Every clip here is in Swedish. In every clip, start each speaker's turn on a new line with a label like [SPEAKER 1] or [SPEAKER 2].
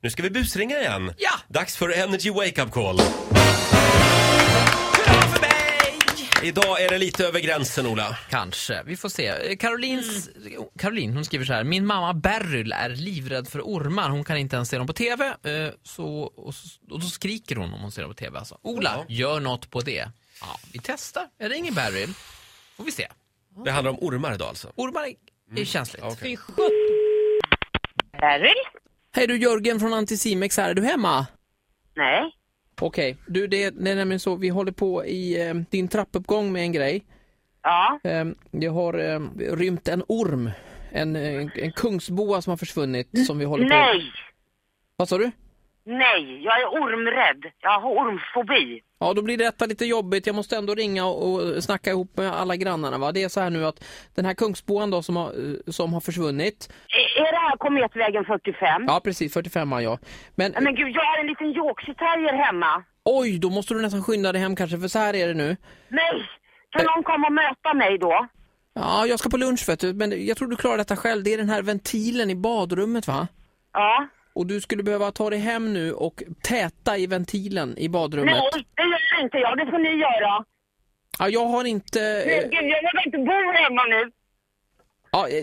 [SPEAKER 1] Nu ska vi busringa igen.
[SPEAKER 2] Ja!
[SPEAKER 1] Dags för Energy Wake Up Call.
[SPEAKER 2] Hurra för mig!
[SPEAKER 1] Idag är det lite över gränsen, Ola.
[SPEAKER 2] Kanske, vi får se. Eh, Carolins, Caroline hon skriver så här. Min mamma Beryl är livrädd för ormar. Hon kan inte ens se dem på TV. eh, Så, och, s- och då skriker hon om hon ser dem på TV. Alltså. Ola, gör något på det. Ja, vi testar. Jag ringer Beryl. Får vi se.
[SPEAKER 1] Det handlar om ormar idag alltså.
[SPEAKER 2] Ormar är, är känsligt.
[SPEAKER 1] Okej.
[SPEAKER 3] Beryl?
[SPEAKER 2] Hej du Jörgen från Anticimex här. Är du hemma?
[SPEAKER 3] Nej.
[SPEAKER 2] Okej, du det, det är nämligen så vi håller på i eh, din trappuppgång med en grej.
[SPEAKER 3] Ja.
[SPEAKER 2] Eh, det har eh, rymt en orm. En, eh, en kungsboa som har försvunnit som vi håller på...
[SPEAKER 3] Mm. Nej.
[SPEAKER 2] Vad sa du?
[SPEAKER 3] Nej. Jag är ormrädd. Jag har ormfobi.
[SPEAKER 2] Ja, då blir detta lite jobbigt. Jag måste ändå ringa och, och snacka ihop med alla grannarna. Va? Det är så här nu att den här kungsboan då som har, eh, som har försvunnit.
[SPEAKER 3] E, Är, är det här Kometvägen 45?
[SPEAKER 2] Ja, precis. 45 ja. Men
[SPEAKER 3] Nej, Men gud, jag har en liten Yorkshire terrier hemma.
[SPEAKER 2] oj, då måste du nästan skynda dig hem kanske, för så här är det nu.
[SPEAKER 3] Nej. Kan någon komma och möta mig då?
[SPEAKER 2] Ja, jag ska på lunch vet du, men jag tror du klarar detta själv. Det är den här ventilen i badrummet va?
[SPEAKER 3] Ja.
[SPEAKER 2] Och du skulle behöva ta dig hem nu och täta i ventilen i badrummet.
[SPEAKER 3] Nej, det gör inte jag. Det får ni
[SPEAKER 2] Eh.
[SPEAKER 3] göra.
[SPEAKER 2] Ja, jag har inte...
[SPEAKER 3] Nej,
[SPEAKER 2] Eh,
[SPEAKER 3] gud, jag vågar inte bo hemma nu.
[SPEAKER 2] ja, eh,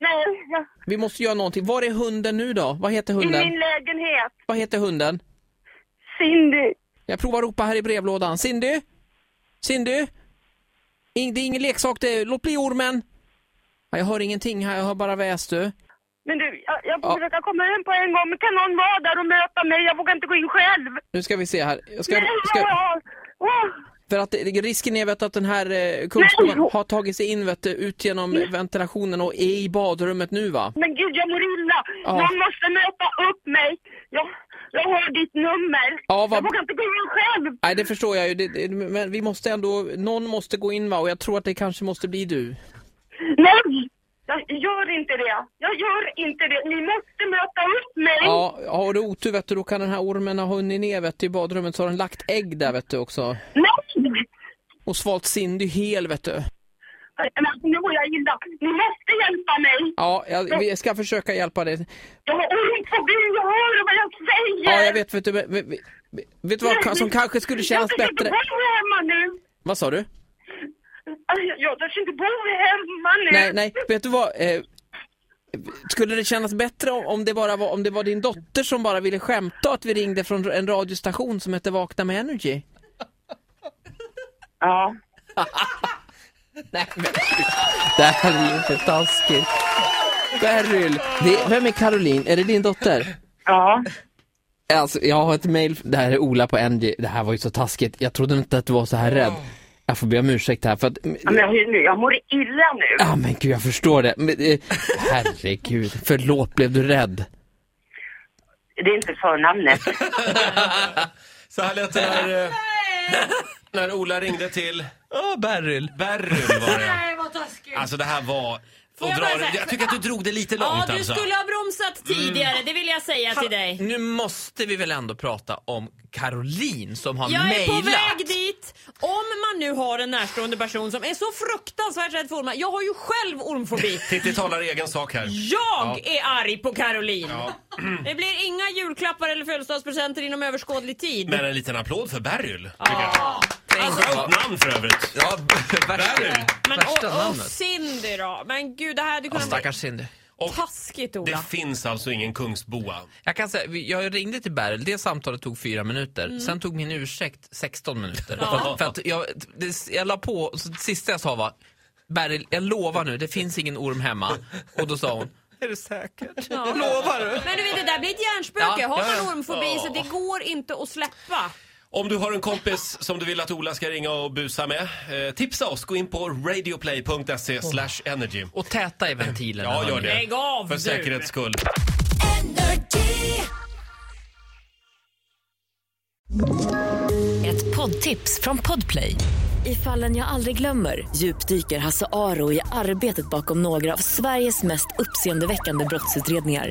[SPEAKER 3] Nej, jag,
[SPEAKER 2] vi måste göra någonting. Var är hunden nu då? Vad heter
[SPEAKER 3] i
[SPEAKER 2] hunden?
[SPEAKER 3] min lägenhet.
[SPEAKER 2] Vad heter hunden?
[SPEAKER 3] Cindy.
[SPEAKER 2] Jag provar att ropa här i brevlådan. Cindy? Cindy? In, det är ingen leksak det. Låt bli ormen! Ja, jag hör ingenting här, jag hör bara väs du.
[SPEAKER 3] Men du, jag, jag får
[SPEAKER 2] Ja.
[SPEAKER 3] försöka komma hem på en gång. Men kan någon vara där och möta mig? Jag vågar inte gå in själv.
[SPEAKER 2] Nu ska vi se här. Jag ska,
[SPEAKER 3] Nej,
[SPEAKER 2] ska,
[SPEAKER 3] jag- Åh.
[SPEAKER 2] för att det- risken är vet, du, att den här eh, kungsboan
[SPEAKER 3] Nej.
[SPEAKER 2] har tagit sig in vet, du, ut genom ventilationen och är i badrummet nu va?
[SPEAKER 3] Men gud, jag mår illa.
[SPEAKER 2] Ja.
[SPEAKER 3] Någon måste möta upp mig. Jag, jag har ditt nummer.
[SPEAKER 2] Ja, vad-
[SPEAKER 3] Jag vågar inte gå in själv.
[SPEAKER 2] Nej, det förstår jag ju. Det, det, men vi måste ändå, någon måste gå in va? Och jag tror att det kanske måste bli du.
[SPEAKER 3] Nej! Jag gör inte det. Jag gör inte det. Ni måste möta upp mig.
[SPEAKER 2] Ja, har du otur vet du, då kan den här ormen ha hunnit ner vet du, i badrummet så har den lagt ägg där vet du också.
[SPEAKER 3] Nej!
[SPEAKER 2] Och svalt Cindy hel vet du.
[SPEAKER 3] Men alltså, nu mår jag illa. Ni måste hjälpa mig.
[SPEAKER 2] Ja, jag, vi ska försöka hjälpa dig.
[SPEAKER 3] Jag har ormfobi. Jag hör vad jag säger.
[SPEAKER 2] Ja, jag vet vet du, men- men- men- vet du vad som kanske skulle kännas
[SPEAKER 3] jag
[SPEAKER 2] bättre?
[SPEAKER 3] Jag törs inte bo hemma nu.
[SPEAKER 2] Vad sa du?
[SPEAKER 3] Alltså, Jag törs inte bo hemma nu.
[SPEAKER 2] Nej, nej, vet du vad? Eh, skulle det kännas bättre om- om det bara var, om det var din dotter som bara ville skämta att vi ringde från en radiostation som heter Vakna med Energy?
[SPEAKER 3] Ja.
[SPEAKER 2] Nej men gud. Det här är ju inte taskigt. Beryl. Det, vem är Caroline? Är det din dotter?
[SPEAKER 3] Ja.
[SPEAKER 2] Alltså jag har ett mail. Det här är Ola på NG. Det här var ju så taskigt. Jag trodde inte att du var så här rädd. Jag får be om ursäkt här för att...
[SPEAKER 3] Ja, Men jag, jag mår illa nu.
[SPEAKER 2] Ja men gud jag förstår det. Men, eh, herregud. Förlåt, blev du rädd?
[SPEAKER 3] Det är inte förnamnet.
[SPEAKER 1] Så här lät det när, eh, när Ola ringde till... Ja, Beryl. Beryl var det.
[SPEAKER 4] Nej, vad taskigt.
[SPEAKER 1] Alltså det här var...
[SPEAKER 4] Får
[SPEAKER 1] och
[SPEAKER 4] jag
[SPEAKER 1] dra,
[SPEAKER 4] bara säga-
[SPEAKER 1] jag tycker att du drog det lite
[SPEAKER 4] ja,
[SPEAKER 1] långt
[SPEAKER 4] du
[SPEAKER 1] alltså.
[SPEAKER 4] skulle ha bromsat tidigare, det vill jag säga till dig.
[SPEAKER 2] Nu måste vi väl ändå prata om Caroline som har
[SPEAKER 4] Jag är på väg dit. Om man nu har en närstående person som är så fruktansvärt rädd för ormar. Jag har ju själv ormfobi.
[SPEAKER 1] Titti talar i egen sak här.
[SPEAKER 4] Jag är arg på Caroline.
[SPEAKER 1] Ja.
[SPEAKER 4] Det blir inga julklappar eller födelsedagspresenter inom överskådlig tid.
[SPEAKER 1] Men en liten applåd för Beryl.
[SPEAKER 2] Alltså,
[SPEAKER 1] Skönt namn för övrigt.
[SPEAKER 2] ja,
[SPEAKER 1] Beryl.
[SPEAKER 4] Men och, och Cindy då? Men gud, det här hade kunnat bli
[SPEAKER 2] Cindy.
[SPEAKER 1] Och
[SPEAKER 4] taskigt Ola.
[SPEAKER 1] Alltså, det finns alltså ingen kungsboa.
[SPEAKER 2] Jag kan säga, vi- jag ringde till Beryl, det samtalet tog fyra minuter, sen tog min ursäkt 16 minuter.
[SPEAKER 4] Ja.
[SPEAKER 2] För att jag, det, jag la på, så det sista jag sa var Beryl, jag lovar nu, det finns ingen orm hemma. Och då sa hon, är du säker? Lovar du?
[SPEAKER 4] Men du vet, det där blir ett hjärnspöke.
[SPEAKER 2] Ja,
[SPEAKER 4] Har
[SPEAKER 2] ja,
[SPEAKER 4] man
[SPEAKER 2] ja.
[SPEAKER 4] ormfobi så det går inte att släppa.
[SPEAKER 1] Om du har en kompis som du vill att Ola ska ringa och busa med, eh, tipsa oss. Gå in på radioplay.se slash energy.
[SPEAKER 2] Och täta i ventilen.
[SPEAKER 1] Ja, gör det.
[SPEAKER 4] Lägg av
[SPEAKER 1] För
[SPEAKER 4] du.
[SPEAKER 1] säkerhets skull.
[SPEAKER 5] Ett poddtips från Podplay. I fallen jag aldrig glömmer djupdyker Hasse Aro i arbetet bakom några av Sveriges mest uppseendeväckande brottsutredningar.